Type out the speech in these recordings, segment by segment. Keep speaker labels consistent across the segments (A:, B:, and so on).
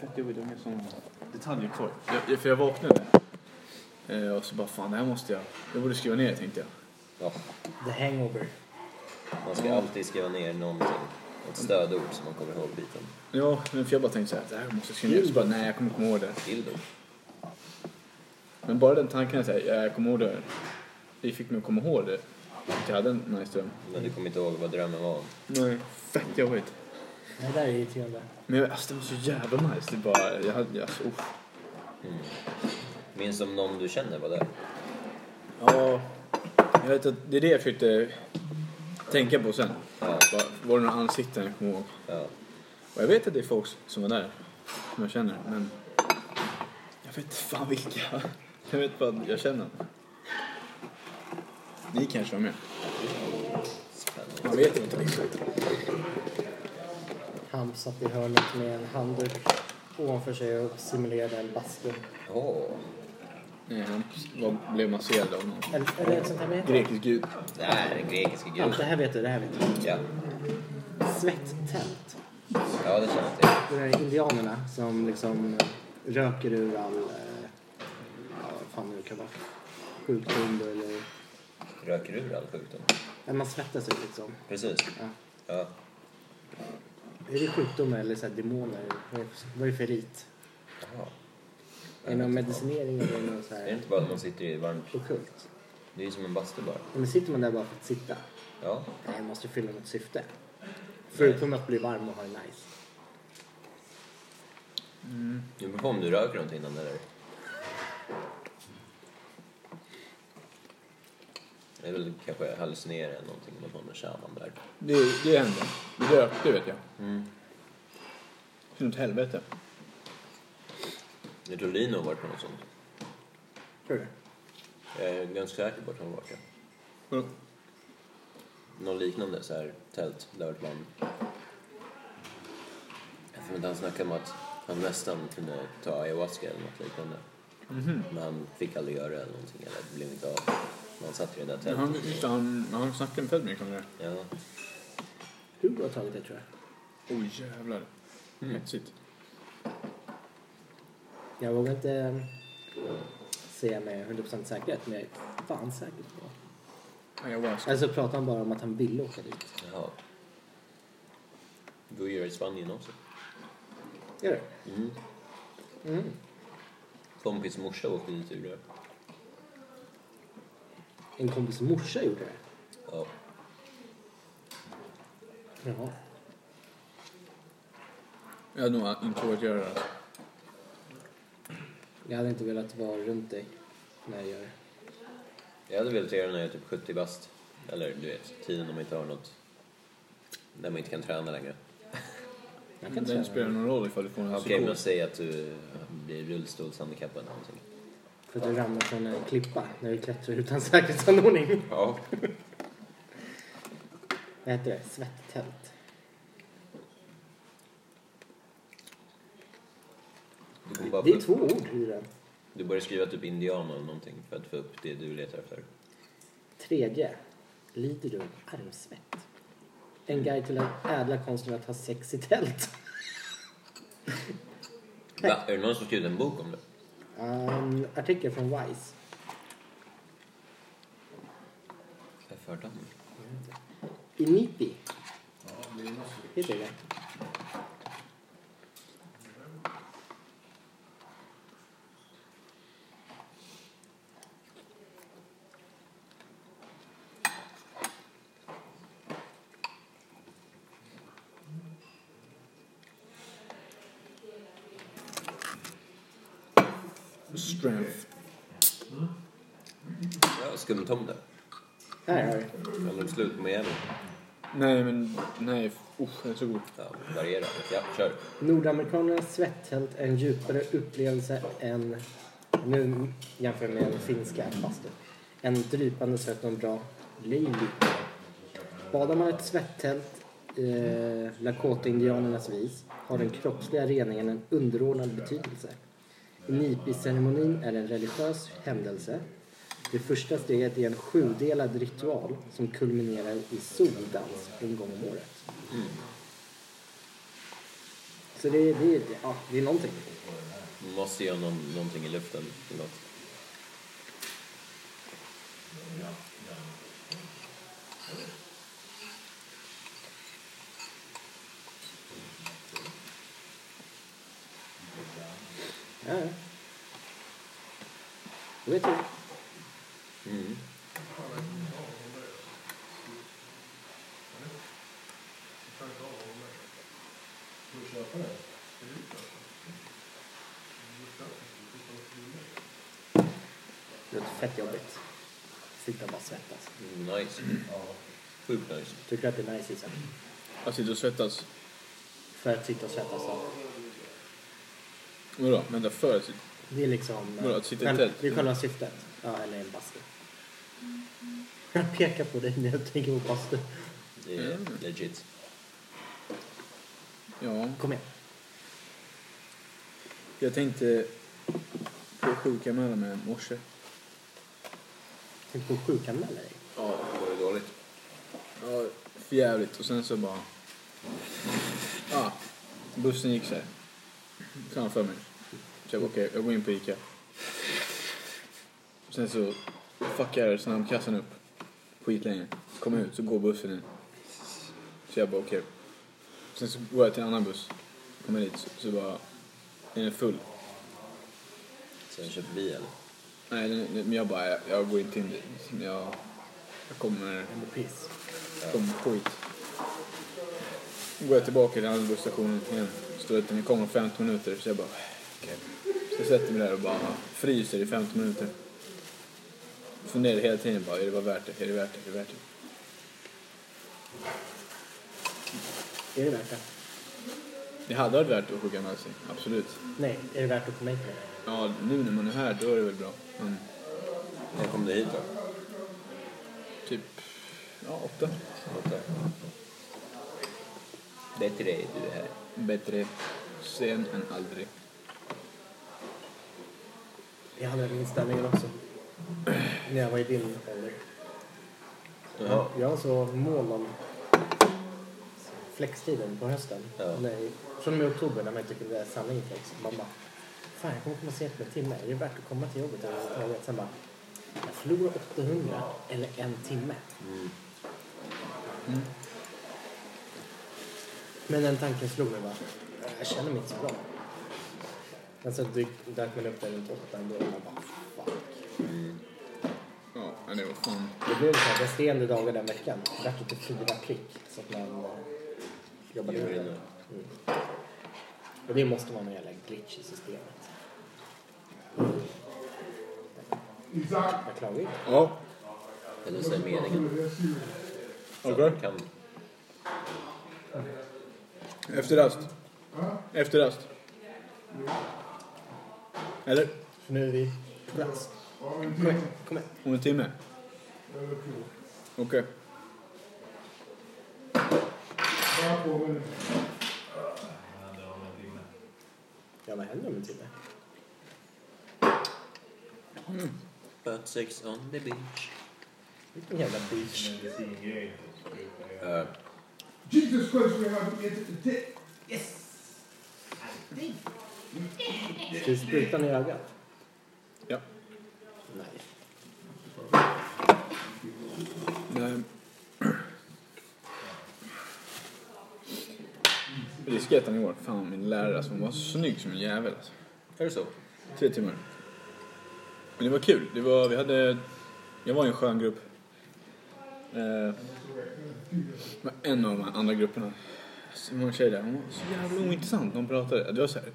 A: fett jobbigt unge som detaljkoll. Jag- Jag, för jag vaknade. Eh, och så bara fan det här måste jag. Jag borde skriva ner tänkte jag.
B: Ja,
C: The hangover.
B: man ska alltid skriva ner någonting. Ett stödord som man kommer ihåg biten.
A: Ja, men för jag bara tänkte så här, det här måste jag skriva ner. Så bara nej jag kommer inte ihåg det.
B: Dildo.
A: Men bara den tanken att säga, ja, jag kommer ihåg det. Det fick mig att komma ihåg det. Att jag hade en nice dröm.
B: Men du kommer inte ihåg vad drömmen var om.
A: Nej. Fett jobbigt.
C: Det där är irriterande.
A: Men jag, alltså, det var så jävla nice. Det bara, jag hade, alltså, usch.
B: Minns du om någon du känner var där?
A: Ja, jag vet att det är det jag försökte tänka på sen.
B: Ja.
A: Bara, var det några ansikten jag kommer ihåg?
B: Ja.
A: Och jag vet att det är folk som var där, som jag känner, men jag vet fan vilka. Jag vet bara att jag känner. Ni kanske var med? Man
B: Spännande.
A: vet inte riktigt.
C: Han satt i hörnet med en handduk ovanför sig och simulerade en bastu.
B: Åh.
A: Nej, han var, blev masserad av någon
C: Eller är det ett sånt här med?
A: grekisk gud.
B: Det här är den grekiska
C: Ja, det
B: guden.
C: här vet du, det här vet du.
B: Ja.
C: Svetttält.
B: ja, det känner jag till.
C: Det där är indianerna som liksom röker ur all... eh, Ja, vad fan det kan vara. Sjukdom eller...
B: Röker ur all sjukdom.
C: När man svettas ut liksom.
B: Precis.
C: Ja.
B: Ja.
C: Är det sjukdomar eller så här demoner? Vad är vad är det för rit?
B: Jaha.
C: Är det någon medicinering eller är det något så
B: Är det
C: här
B: inte bara att man sitter i varmt?
C: ockult?
B: Det är ju som en bastu bara.
C: Men sitter man där bara för att sitta?
B: Ja.
C: Nej, jag måste fylla något syfte. Förutom att bli varm och ha det nice.
B: Det beror på om du röker någonting innan eller? Det är väl kanske hallucinera eller någonting, någon form av shaman där.
A: Det, det hände. Det rökte vet jag. Sen åt helvete.
B: Jag tror Lino har varit på något sånt.
C: Tror du?
B: Jag är ganska säker på att han har varit det.
A: Vadå?
B: Någon liknande så här tält där man... Jag tror inte han snackade om att han nästan kunde ta ayahuasca eller något liknande. Men han fick aldrig göra det eller någonting, eller det blev inte av. Men han satt i det där
A: Men
B: tältet.
A: Han, just det, han, han snackade fett mycket om det.
B: Ja.
C: Hugo har tagit det tror jag.
A: Oj oh, jävlar. Hetsigt.
C: Jag vågar inte eh, säga med 100% säkerhet, men jag är fan säker på det.
A: Ja, jag var så.
C: Eller så pratar han bara om att han ville åka dit.
B: Jaha. Du gör i Spanien också.
C: Gör det?
B: Mm.
C: Mm.
B: Kompis morsa åkte dit ur det.
C: En kompis morsa gjorde det.
B: Ja.
C: Jaha.
A: Jag hade nog inte vågat göra det. alltså.
C: Jag hade inte velat vara runt dig när jag gör det.
B: Jag hade velat göra det när jag är typ 70 bast. Eller du vet, tiden om man inte har något. När man inte kan träna längre.
C: Jag kan
A: Det
C: inte
A: spelar
C: säga
A: någon roll ifall du får en
B: Okej,
A: psykos.
B: men säg att du eh, blir rullstolshandikappad eller någonting.
C: För att du ramlar från en klippa när du klättrar utan säkerhetsanordning.
B: Ja.
C: Vad heter det? Svetttält.
B: Du, kommer bara
C: Det
B: få
C: är två ord i den.
B: du börjar skriva typ indian eller någonting för att få upp det du letar efter.
C: Tredje. Lider du av armsvett? En guide till den ädla konsten att ha sex i tält.
B: Va? Är det någon som skrivit en bok om det?
C: Um, artikel från Wise.
B: Jag har hört om det.
C: Inipi. Heter det
A: Strength.
B: Ja, skumtomte.
C: Här har du.
B: Han drog slut på Miami.
A: Nej men, nej. Usch, den är så god.
B: Ja, variera. Ja, kör.
C: Nordamerikanernas svetttält är en djupare upplevelse än, nu jämför jag med en finska bastu, en drypande svett och en bra liv. Badar man i ett svetttält, eh, Lakota-indianernas vis, har den kroppsliga reningen en underordnad betydelse. Nipi-ceremonin är en religiös händelse. Det första steget är en sjudelad ritual som kulminerar i soldans en gång om året. Så det, det, ja, det är någonting.
B: Man måste göra någon, någonting i luften. eller Något.
C: Ja, ja. Då vet du.
B: Mm.
C: Det låter fett jobbigt. Sitta och bara svettas.
B: Nice. Sjukt nice.
C: Tycker du att det är nice Isak?
A: Att sitta och svettas.
C: För att sitta och svettas så.
A: Vadå? Men därför? att sitta-
C: Det är liksom... eh,
A: Vadå, att sitta i
C: själv-
A: tält?
C: Det är själva syftet. Ja, eller i en bastu. Jag pekar på dig när jag tänker på bastu.
B: Det är
A: Mm.
B: legit.
A: Ja.
C: Kom igen.
A: Jag tänkte på sjukanmäla med i morse.
C: Tänk på att sjukanmäla dig.
A: Ja.
B: Var det dåligt?
A: Ja, för jävligt. Och sen så bara... Ja, bussen gick så här. Framför mig. Så jag bara, okej, jag går in på Ica. Och sen så fuckar snabbkassan upp. Skitlänge. Kommer ut, så går bussen in. Så jag bara, okej. Sen så går jag till en annan buss. Kommer dit, så, så bara... Den är full.
B: Sen köper vi eller?
A: Nej, den, den, men jag bara, jag, jag går inte in. Jag, jag kommer...
C: Eller piss.
A: Som skit. Går jag tillbaka till andra busstationen igen. Står att den kommer om 15 minuter. Så jag bara, okej. Så jag sätter mig där och bara fryser i 15 minuter. Funderar hela tiden bara, är det bara värt det? Är det värt det? Är det värt det?
C: Är det värt det?
A: Det hade varit värt att skicka med sig, absolut.
C: Nej, är det värt att komma hit med det?
A: Ja, nu när man är här, då är det väl bra. Men
B: När kom du hit då?
A: typ, ja, åtta.
B: Åtta. Bättre är du är här.
A: Bättre sen än aldrig.
C: Jag hade den inställningen också. När jag var i din ålder.
B: Ja.
C: Jag var så mån om flextiden på hösten.
B: Ja.
C: Nej, från och med oktober när man inte kunde samla in flex. Man bara, fan jag kommer komma sent med en timme. Är det värt att komma till jobbet överhuvudtaget? Sen bara, jag förlorar 800 eller en timme.
B: Mm.
C: Men den tanken slog mig bara, jag känner mig inte så bra. Men så dyk, Alltså, dök man upp där runt åtta ändå och man bara, fuck.
A: Ja, men det var fan.
C: Det blev så här resterande dagar den veckan. Det vart lite fyra prick så att man eh, jobbade
B: Gjorde
C: vidare.
B: det.
C: Mm. Och det måste vara någon jävla glitch i systemet. Jag klagar ju.
A: Ja,
B: Eller så är meningen.
A: okej.
B: Kan du?
A: Efter rast. Efter rast. Eller?
C: För nu är vi på rast. Kom igen, kom igen.
A: Om en timme? Okej.
C: Ja, vad händer om en timme?
B: Butt sex on the beach.
C: Vilken jävla beach.
B: Uh,
D: Jesus Christ, we have it to dick.
C: Ska vi spruta den i ögat?
A: Ja.
C: Nej.
A: Nej. Risketen igår. Fan, min lärare alltså, hon var snygg som en jävel alltså.
B: är det så?
A: Tre timmar. Men det var kul. Det var, vi hade... Jag var i en skön grupp. Eh, men en av de här andra grupperna. Så var en tjej där. Hon var så jävla ointressant när hon pratade. Det var så här.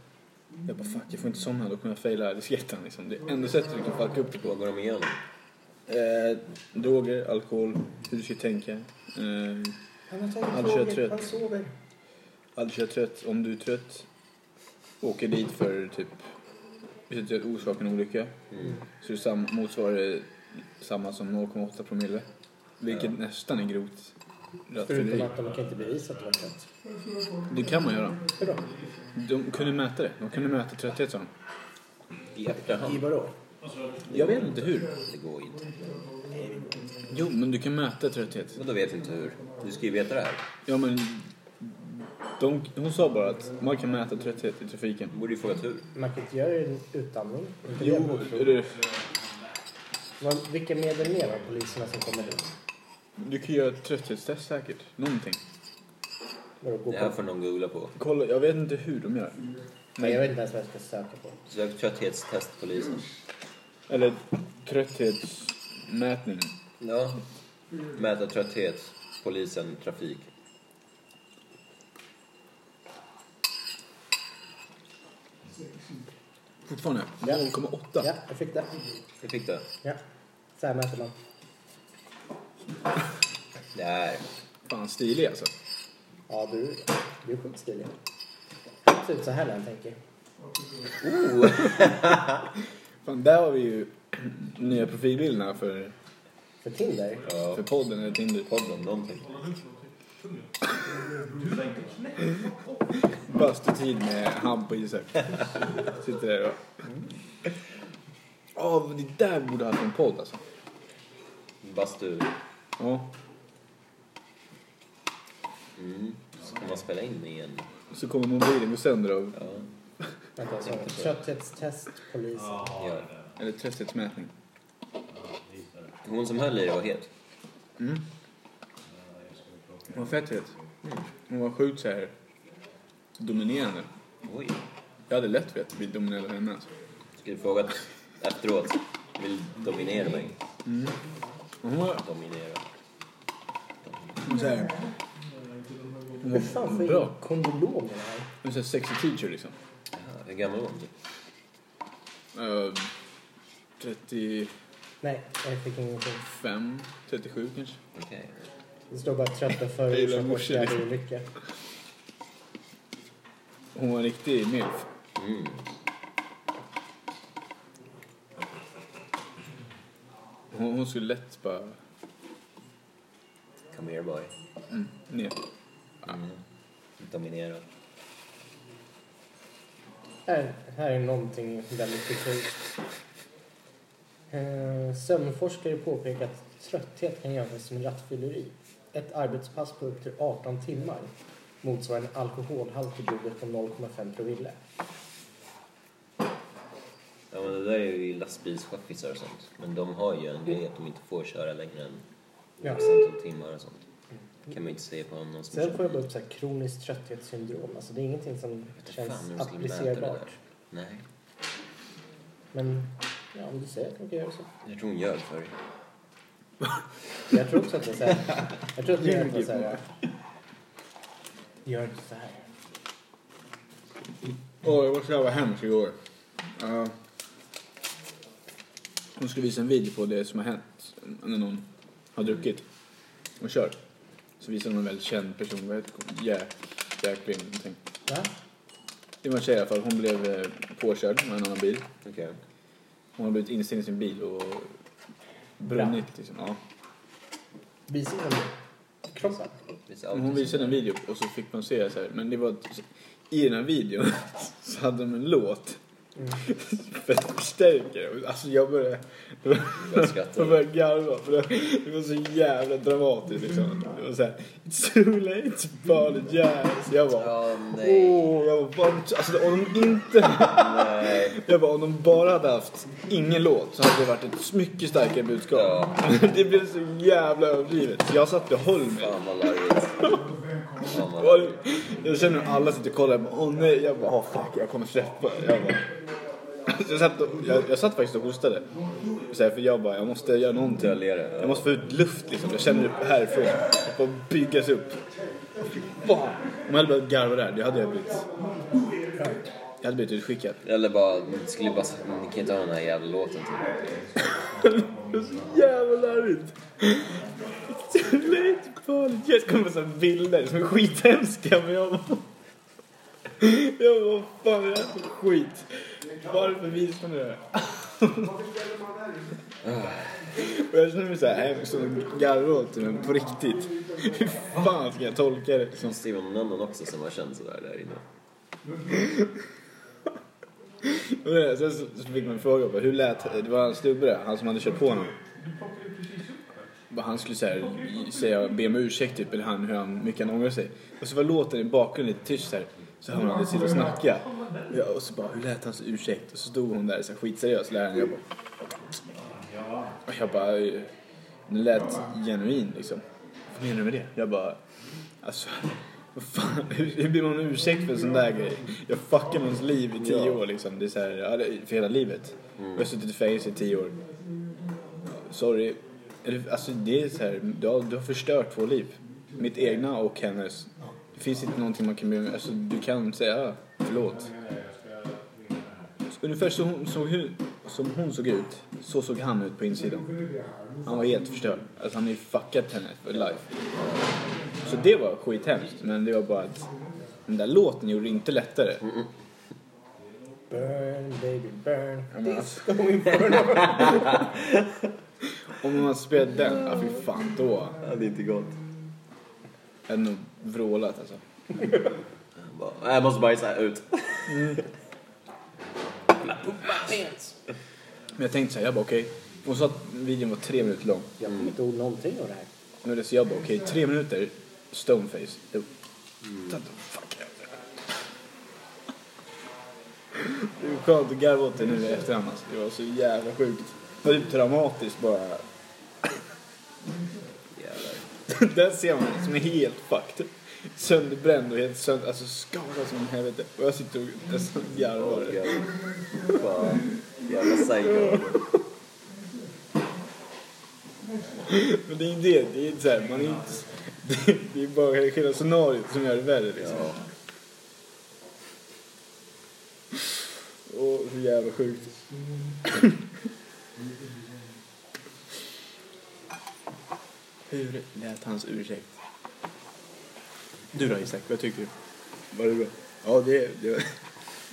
A: Jag bara fuck, jag får inte somna. Då kommer jag faila disketten liksom. Det är enda sättet du kan fucka upp det på.
B: Vad går de igenom?
A: Eh, droger, alkohol, hur du ska tänka. Eh,
C: Han har tagit
A: Han kör
C: droger,
A: trött.
C: han sover.
A: aldrig köra trött. Om du är trött, åker dit för typ... Hvis du orsakar en olycka.
B: Mm.
A: Så det sam- motsvarar det samma som 0,8 promille. Vilket nästan är grovt
C: Förutom
A: rattfylleri.
C: att de kan inte bevisa att det var trött.
A: Det kan man göra.
C: Hur då?
A: De kunde mäta det. De kunde mäta trötthet sa de.
B: I
C: I
B: efterhand?
C: vadå?
A: Jag vet inte hur.
B: Det går inte.
A: Jo, men du kan mäta trötthet.
B: Men då vet inte hur. Du ska ju veta det här.
A: Ja, men De, hon sa bara att man kan mäta trötthet i trafiken.
B: Borde ju frågat hur.
C: Man kan inte göra det utan dem. Inte det
A: Jo,
C: man tror.
A: du,
C: Vad- Vilka medel mer av poliserna som kommer dit?
A: du kan göra ett trötthetstest säkert. Någonting.
C: Vadå, gå
B: Det här
C: på?
B: får någon googla på.
A: Kolla, jag vet inte hur de gör.
C: Nej, jag vet inte ens vad jag ska söka på.
B: Sök trötthetstest polisen.
A: Eller trötthetsmätning.
B: Ja. Mäta trötthet, polisen, trafik.
A: Fortfarande
C: Ja.
A: 0,8.
C: Ja, jag fick det.
B: Det fick du.
C: Ja. Så här mäter man.
B: Nej.
A: Fan stilig alltså.
C: Ja, du, du är sjukt stilig. Det ser ut så här när han tänker.
A: Fan, där har vi ju nya profilbilderna för,
C: För Tinder?
B: Ja.
A: för podden eller Tinder.
B: Podden, någonting.
A: Bastutid med Hamp och Isak. Sitter där och... Ja, men det där borde ha haft en podd alltså.
B: Bastu.
A: Ja.
B: Mm. Så kan man spela in i en...
A: Så kommer mobilen gå sönder av...
B: Ja.
C: Vänta, så. Trötthetstest, polis.
B: ja.
A: Eller trötthetsmätning.
B: Hon som höll i det var het.
A: Hon var fett het. Hon var sjukt så här dominerande.
B: Oj.
A: Jag hade lätt velat bli dominerad av henne alltså.
B: Skulle frågat efteråt. Vill dominera mig.
A: Hon var,
B: Dominera.
A: hon så här,
C: Hur fan får jag
A: Bra.
C: in kondylom i det här?
A: en sån här sexy teacher liksom.
B: Ja, hur gammal var hon? typ?
A: Eh, 35,
C: Nej, jag fick ingenting.
A: 37 kanske.
B: Okej.
C: Det står bara trött och
A: Jag gillar morsan.
C: förorsakad olycka.
A: Hon var en riktig milf.
B: Mm.
A: Hon, hon skulle lätt bara
B: Come here boy.
A: mm, ner.
B: Mm. Dominera.
C: Här, här är någonting väldigt diffust. Eh, Sömnforskare påpekar att trötthet kan jämföras med rattfylleri. Ett arbetspass på upp till 18 timmar motsvarar en alkoholhalt i blodet på 0,5 promille.
B: Ja, men det där är ju lastbilschaffisar och sånt. Men de har ju en grej att de inte får köra längre än
C: Ja. Mm.
B: x antal timmar och sånt. Det kan man ju inte se på någon som
C: Sen får jag bara
B: kör.
C: upp så här kroniskt trötthetssyndrom. Alltså det är ingenting som
B: Jag vet inte fan
C: känns
B: hur de skulle mäta det
C: applicerbart.
B: där. Nej,
C: Men ja, om du säger att man kan göra så.
B: jag tror hon ljög för dig.
C: Jag tror också att det är så här. Jag tror att det är att man så här. Gör inte så här.
A: Åh, jag var så jävla hemsk igår. Uh, hon skulle visa en video på det som har hänt när någon har druckit och kört. Så visade hon en väldigt känd person, vad heter hon? Jack, Jack Lynn, någonting.
C: Va?
A: Det var en tjej i alla fall, hon blev eh, påkörd med en annan bil.
B: Okej.
A: Hon har blivit instängd i sin bil och brunnit liksom. Ja.
C: Visa den kroppen.
B: Visst,
A: Men Hon
B: autism.
A: visade en video och så fick man se så här, men det var ett, i den här videon så hade de en låt
C: Mm.
A: för att förstärka det. Alltså jag började,
B: Jag
A: jag
B: skrattar.
A: började garva för det, det var så jävla dramatiskt liksom. Det var så här, it's too late to apologize. Jag bara,
B: Ja,
A: åh,
B: nej.
A: jag var bara, alltså om de inte,
B: Nej.
A: jag bara, om de bara hade haft ingen låt så hade det varit ett mycket starkare budskap.
B: Ja.
A: Det blev så jävla överdrivet. Så jag satt och höll mig.
B: Fan vad larvigt. Fan vad
A: Och
B: larvigt.
A: Jag känner hur alla sitter och kollar. Jag bara, Åh nej, jag bara, oh, fuck, jag kommer släppa. Jag, bara. Så jag, satt, och, jag, jag satt faktiskt och hostade. Så här, för jag bara, jag måste göra någonting.
B: Dölja det, ja.
A: Jag måste få ut luft liksom. Jag känner det härifrån. Jag bara byggas upp. Fy fan. Om jag hade börjat garva där, det hade jag blivit... Jag hade blivit utskickad.
B: Eller bara, ni skulle bara sagt, ni kan inte ha den här jävla låten typ.
A: Det var så jävla larvigt. Too late to apologize. Det kommer så här bilder som är skithemska men jag bara... Jag bara, vad fan är det här för skit? Varför visar ni det här? Och jag känner mig så här hemskt som garvar åt det, men på riktigt. Hur fan ska jag tolka det?
B: Det måste ju vara någon annan också som har känt sådär där inne.
A: Och det- Sen så så fick man fråga bara, hur lät det? var en snubbe där, han som hade kört på honom. vad han skulle säga, säga be om ursäkt typ, eller han, hur han, mycket han ångrar sig. Och så var låten i bakgrunden lite tyst så här. Så hörde man henne sitta och snacka. Och, jag, och så bara, hur lät hans ursäkt? Och så stod hon där så här, skitseriös, läraren. Jag bara, och jag bara, eh, den lät genuin liksom. Vad menar du med det? Jag bara, alltså, vad fan, hur hur blir man om ursäkt för en sån där grej? Jag fuckar någons liv i tio
B: Ja.
A: år liksom. Det är så här, ja, det är för hela livet. Jag har suttit i fängelse i tio år. Sorry. Eller, Alltså det är så här, du har, du har förstört två liv. Mitt egna och hennes. Det finns inte någonting man kan be om. Alltså du kan säga "Ah, förlåt. Ungefär som hon, som, hon, som hon såg ut, så såg han ut på insidan. Han var helt förstörd. Alltså han hade ju fuckat henne för life. Så det var skithemskt, men det var bara att den där låten gjorde det inte lättare.
C: Burn baby burn.
A: Jag menar,
C: Disco inferno.
A: Om man spelade den, ja fy fan då.
B: Ja, det är inte gott.
A: Jag hade nog vrålat alltså.
B: Han bara, "Nej, jag måste bajsa ut.
A: Men jag tänkte så här, jag bara okej. Hon sa att videon var tre minuter lång.
C: Jag kommer inte ihåg någonting av det här.
A: Men det så jag bara okej, tre minuter, stoneface. Det... Mm. Fuck det är skönt att garva åt det nu i efterhand alltså. Det var så jävla sjukt. Det var typ dramatiskt bara.
B: Jävlar.
A: Där ser man det som är helt fucked. Sönderbränd och helt sönder, alltså skadad som helvete. Och jag sitter och nästan garvar.
B: Jävlar. Fan. Jävla psycho.
A: Men det är ju det, det är inte så här, man är inte... Det, det är bara själva scenariot som gör det värre liksom.
B: Ja.
A: Åh, så jävla sjukt. Hur lät hans ursäkt? Du då Isak, vad tycker du? Var det bra? Ja, det, det, var,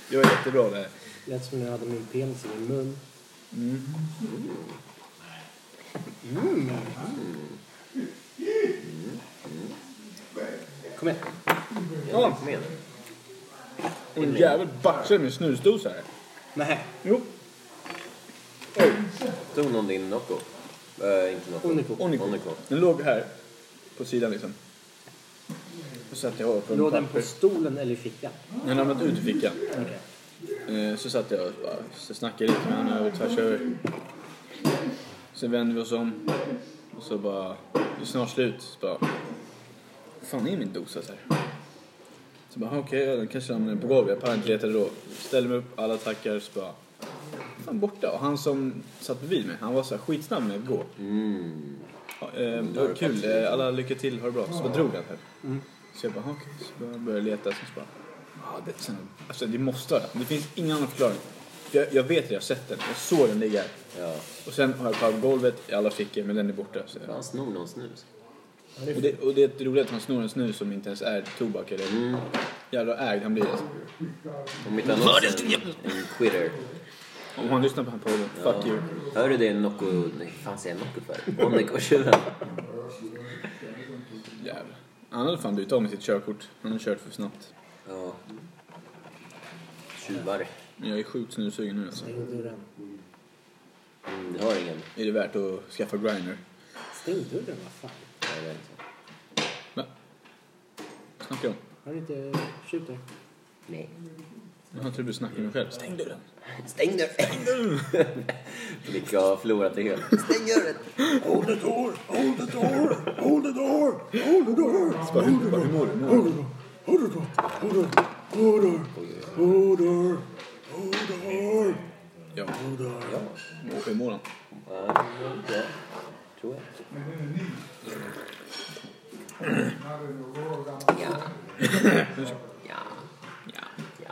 A: det var jättebra det här.
C: Lät som när jag hade min penis i min mun. Kom igen.
B: Ja, kom igen.
A: Och en jävel baxade med snusdosa här.
C: Nej.
A: Jo.
B: Tog någon din Nocco? Eh, inte Nocco.
C: Onico.
A: Onico.
B: Onico.
A: Den låg här. På sidan liksom. Och satte jag på en
C: Låg den på
A: papper.
C: stolen eller i fickan?
A: Den ramlade ut i fickan.
C: Okej.
A: Eh, Så satt jag och bara, så snackade lite med honom över tvärs över. Sen vände vi oss om. Och så bara, det är snart slut. Så bara, "Vad fan är min dosa så här? Så bara, "Ah, okej, ja, den kanske hamnade på golvet. Jag pallade inte leta då. Ställde mig upp, alla tackar. Så bara, fan borta. Och han som satt bredvid mig, han var så här skitsnabb med att gå.
B: Mm.
A: Ja, eh, det var kul, eh, alla lycka till, ha det bra. Så bara drog han här. Så jag bara, "Ah, okej. Så bara började leta, så bara, ah, det, sen, alltså det måste vara det. Det finns ingen annan förklaring. För jag, jag vet att jag har sett den, jag såg den ligga här.
B: Ja.
A: Och sen har jag kollat golvet i alla fickor, men den är borta. Så.
B: Fan, snor någon snus?
A: Och, det, och det är roligt att han snor en snus som inte ens är tobak eller
B: Mm.
A: jävla ägd han blir. Alltså.
B: Om inte annat så en, en quitter.
A: Om han lyssnar på den podden, fuck you.
B: Hör du det Nocco? Nej, fan säger jag Nocco för? Onico-tjuven.
A: Jävlar. Han hade fan blivit av med sitt körkort. Han har kört för snabbt.
B: Ja. Tjuvar.
A: Men jag är sjukt snussugen nu alltså.
C: Stäng dörren.
B: Mm, du har ingen?
A: Är det värt att skaffa grinder?
C: Stäng dörren, vad fan.
B: Nej, det är inte.
A: Va? Snackar jag om?
C: Har du inte tjut där?
B: Nej.
A: Jag tror du snackar med mig själv. Stäng dörren.
B: Stäng dörren! Vilka har förlorat det helt. Stäng dörren!
D: Hold the door! Hold the door! Hold the door! Hold the door! Hold the door!
A: mår du?
D: Hold the door! Hold the door! Hold the door! Hold the door! Hold the door! Hold the door!
A: Ja.
D: Hold the door!
B: Ja.
A: Hur mår han?
B: Ja, ja. Tror jag. Ja. Ja.
A: Ja.
B: Ja.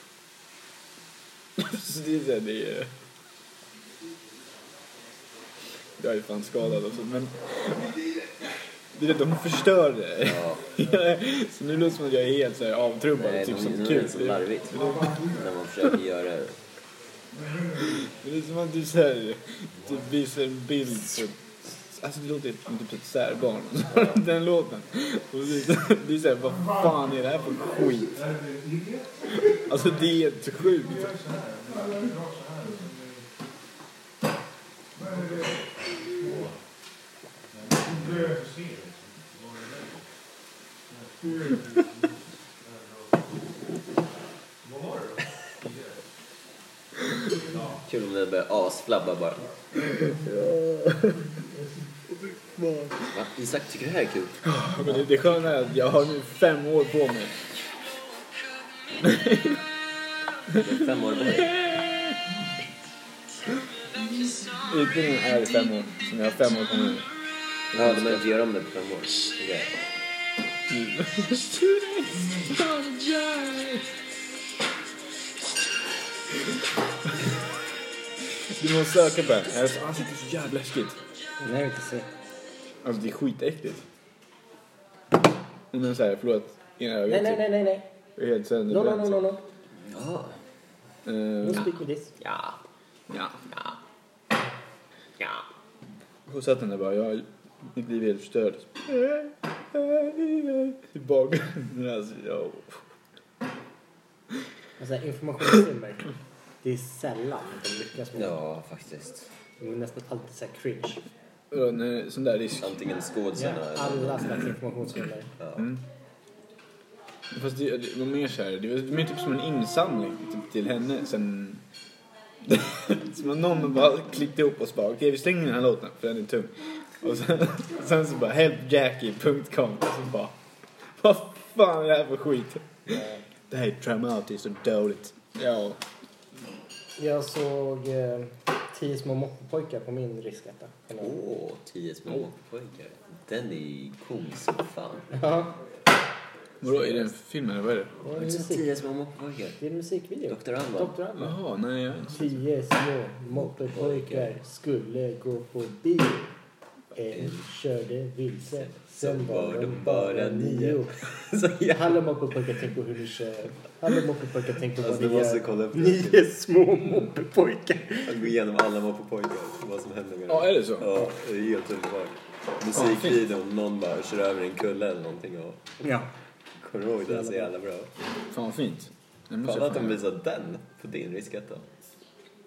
A: Så det är såhär, det är... Jag är fan skadad alltså, men... Det är det, de förstör det.
B: Ja,
A: så nu låter det som att jag är helt så här avtrubbad.
B: nej,
A: typ
B: de,
A: som
B: de är
A: kul.
B: så
A: Det är-
B: larvigt när man försöker göra det.
A: Det är som att du så här, typ visar en bild på... Alltså det låter som typ ett särbarn. Den låten. Och det är- det är såhär, vad fan är det här för skit? Alltså det är helt sjukt.
B: Kul om det börjar asflabba bara. Va? Isak, tycker du det här är kul?
A: Men det, det sköna är att jag har nu fem år på mig.
B: Du är fem år bort.
A: Utbildningen är i fem år. Som jag har fem år på mig.
B: Ja, de behöver inte göra om det på fem år. Okej.
A: Du måste söka på den. Alltså, Han sitter så jävla äckligt.
C: Den här är inte så...
A: Alltså det är skitäckligt. Men såhär, förlåt. Ena ögat
C: Nej, nej,
A: typ.
C: nej, nej, nej.
A: Jag är helt sönder.
C: No, no, no, no, no.
B: Ja.
C: No
A: Eh,
C: speak with this.
B: Ja.
A: ja.
B: Ja. Ja.
A: Och satt den där bara, jag, mitt liv är helt förstört.
C: Eh,
A: I bakgrunden alltså. Jag,
C: Alltså, informationsfilmer. Det är sällan de lyckas med det.
B: Ja, faktiskt.
C: De är nästan alltid så här cringe.
A: och när, sån där risk.
B: Antingen skådisarna
C: Ja,
B: eller...
C: alla slags informationsfilmer.
B: Ja.
A: Fast det, det var mer såhär, det var det var mer typ som en insamling typ, till henne sen... som att någon bara klickade ihop oss bara, okej vi slänger den här låten för den är tung. Och sen, sen så bara helpjackie.com och så bara, vad fan är det här för skit? Det här är traumatiskt och dåligt. Ja.
C: Jag såg eh, Tio små moppepojkar på min risketta.
B: Åh, tio små pojkar. Den är ju cool som fan.
C: Ja,
A: Vadå, är det en film eller vad är det?
C: det är
B: Har du sett
C: musik.
B: Tio små moppojkar?
C: Det är en musikvideo.
B: Dr. Alban.
C: Dr. Alban.
A: Jaha, nej jag har inte sett
C: Tio små moppepojkar skulle gå på bio. En körde vilse, sen var de bara nio.
B: Så jävla...
C: Hallå moppepojkar, tänk på hur ni kör. Hallå moppepojkar, tänk på vad
B: Alltså, du
C: ni
B: måste
C: gör.
B: kolla upp det.
C: Nio små moppepojkar.
B: Att gå igenom alla moppepojkar. Vad som händer med dem.
A: Ja, är det så?
B: Ja, det är helt underbart. Musikvideon, någon bara kör över en kulle eller någonting och...
C: Ja.
B: Kommer du ihåg den? Så jävla bra.
A: Fan vad fint. Den måste
B: Fan
A: jag
B: att de
A: fan...
B: visade den på din risketta.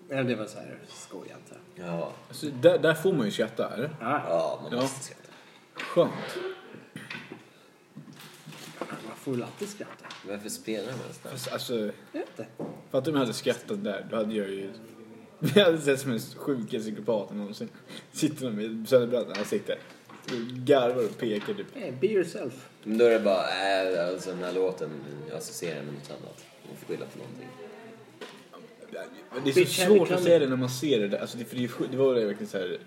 C: Det var så här, skoj antar
B: Ja.
A: alltså, där, där får man ju skratta, eller?
C: jag.
B: Ja, man
A: Ja.
B: måste skratta.
A: Skönt.
C: Man får väl alltid skratta.
B: Varför spelar man ens den?
A: Fast alltså...
C: Jag vet inte.
A: Fattar om jag hade skrattat där, då hade jag ju... Jag hade sett som en sjuk psykopat någonsin. Sitter med sönderbränt ansikte. Garvar och pekar typ.
C: Hey, be yourself.
B: Men då är det bara, äh, alltså den här låten, jag associerar med något annat. Man får skylla på någonting.
A: Men Det är så svårt att säga det när man ser det där. Alltså det, för det, är ju sjuk- det var ju verkligen så här...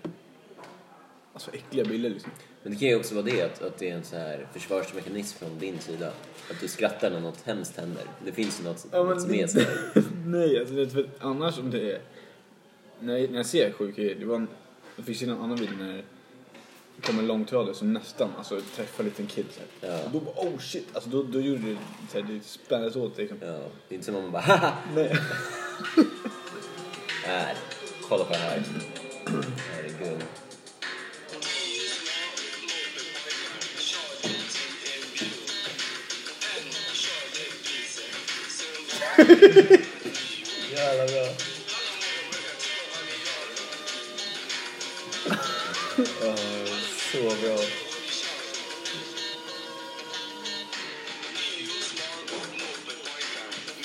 A: Alltså äckliga bilder liksom.
B: Men det kan ju också vara det, att, att det är en så här försvarsmekanism från din sida. Att du skrattar när något hemskt händer. Det finns ju något,
A: Ja, men-
B: något som är så här.
A: Nej, alltså det, är- för annars om det är... När, när jag ser sjuka grejer, det var en... Det finns ju en annan video när det kom en långtradare som nästan alltså, träffade en liten kid. Så här.
B: Ja.
A: Och då bara oh shit, alltså då, då gjorde det så här, det spändes åt liksom.
B: Ja, det är inte som om man bara, haha!
A: Nej.
B: Här, kolla på det här. Herregud. Jävla bra. Åh, så bra.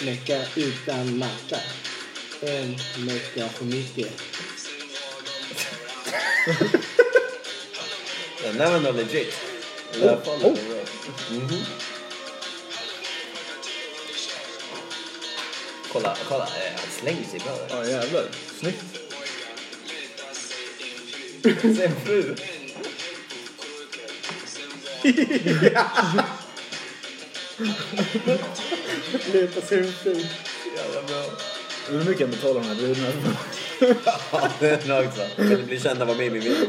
C: Mecka utan matta. En mecka för mycket.
B: Den där var nog legit. I alla fall den var bra. Mhm. Kolla, kolla. eh, Han slänger sig bra.
A: Ja jävlar, snyggt.
B: Sen fru.
C: Luta sig runt
B: Jävla bra.
A: Men hur mycket jag betalar de här brudarna för?
B: Ja, det är bra också. Vill du bli känd av mig, min vän?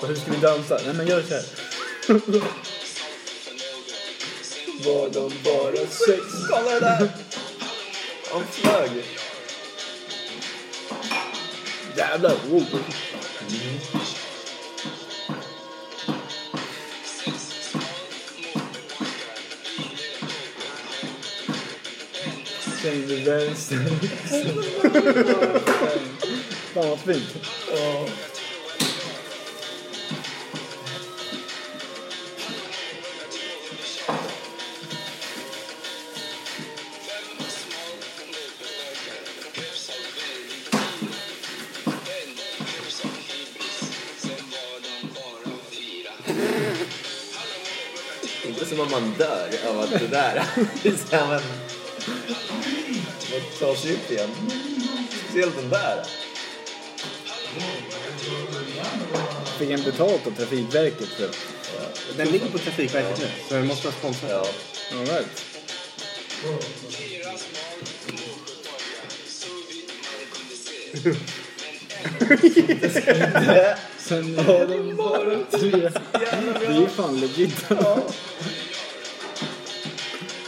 A: Och hur ska vi dansa? Nej men gör så här. Var de bara sex?
B: Kolla det där! Han flög!
A: Jävlar! Wow. Svängde vänster. Fan vad fint.
B: Inte som om man dör av att det där... Det är så här, men... Man tar sig upp igen. Speciellt den där.
A: Fick en betalt av Trafikverket för det.
D: Den ligger på Trafikverket nu, så den måste vara sponsrad.
B: Ja.
A: All right. eh, Sen var de bara tre. Det är ju fan legit.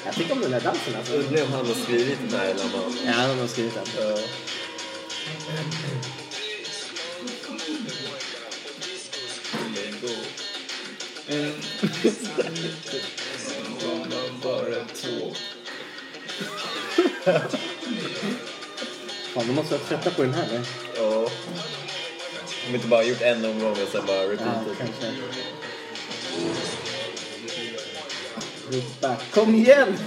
D: Jag tycker om den där dansen alltså.
B: Undrar om han har skrivit den här eller om han...
D: Ja, han har skrivit den.
B: Ja.
D: Fan, de måste vara trötta på den här eller?
B: Ja. Om inte bara gjort en omgång och sen bara
D: Ja,
B: repeatat.
D: kanske. Ropa, kom igen!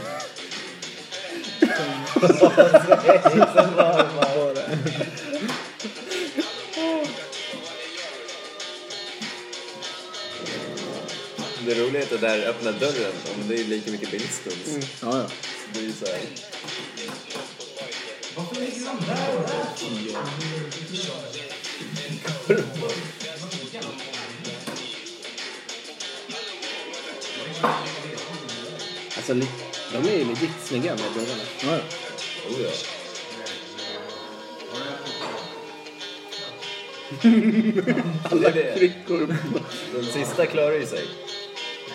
B: Det roliga är att det där öppna dörren, om det är lika mycket bildstuns.
A: Ja, ja.
B: Det är ju såhär...
D: Alltså, li- de är ju legit snygga med bröderna.
A: ja, ja.
B: Oh ja. Alla det.
D: Kryckor.
B: Den sista klarar ju sig.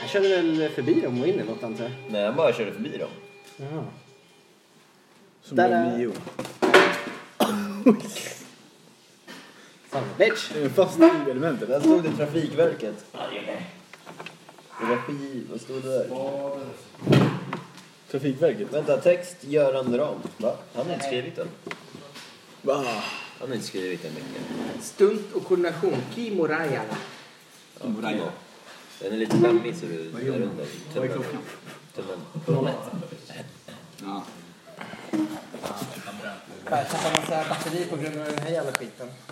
D: Jag körde väl förbi dem och in i något antar jag.
B: Nej, han bara körde förbi dem.
D: Jaha.
A: Som
D: Där
A: blev
D: är-
A: nio.
D: Son of a bitch!
A: Det är Fast i elementet.
B: Där stod det Trafikverket. Regi, vad stod det där?
A: Trafikverket.
B: Vänta, text Göran Ram. Va? Han har inte skrivit den.
A: Va?
B: Han har inte skrivit den mycket.
D: Stunt och koordination, Kimmo Rajala.
B: Ja, Timo. Den är lite dammig så du är under. Tummen. Tummen.
A: Ja.
D: Jag tappar massa batteri på grund av den här jävla skiten.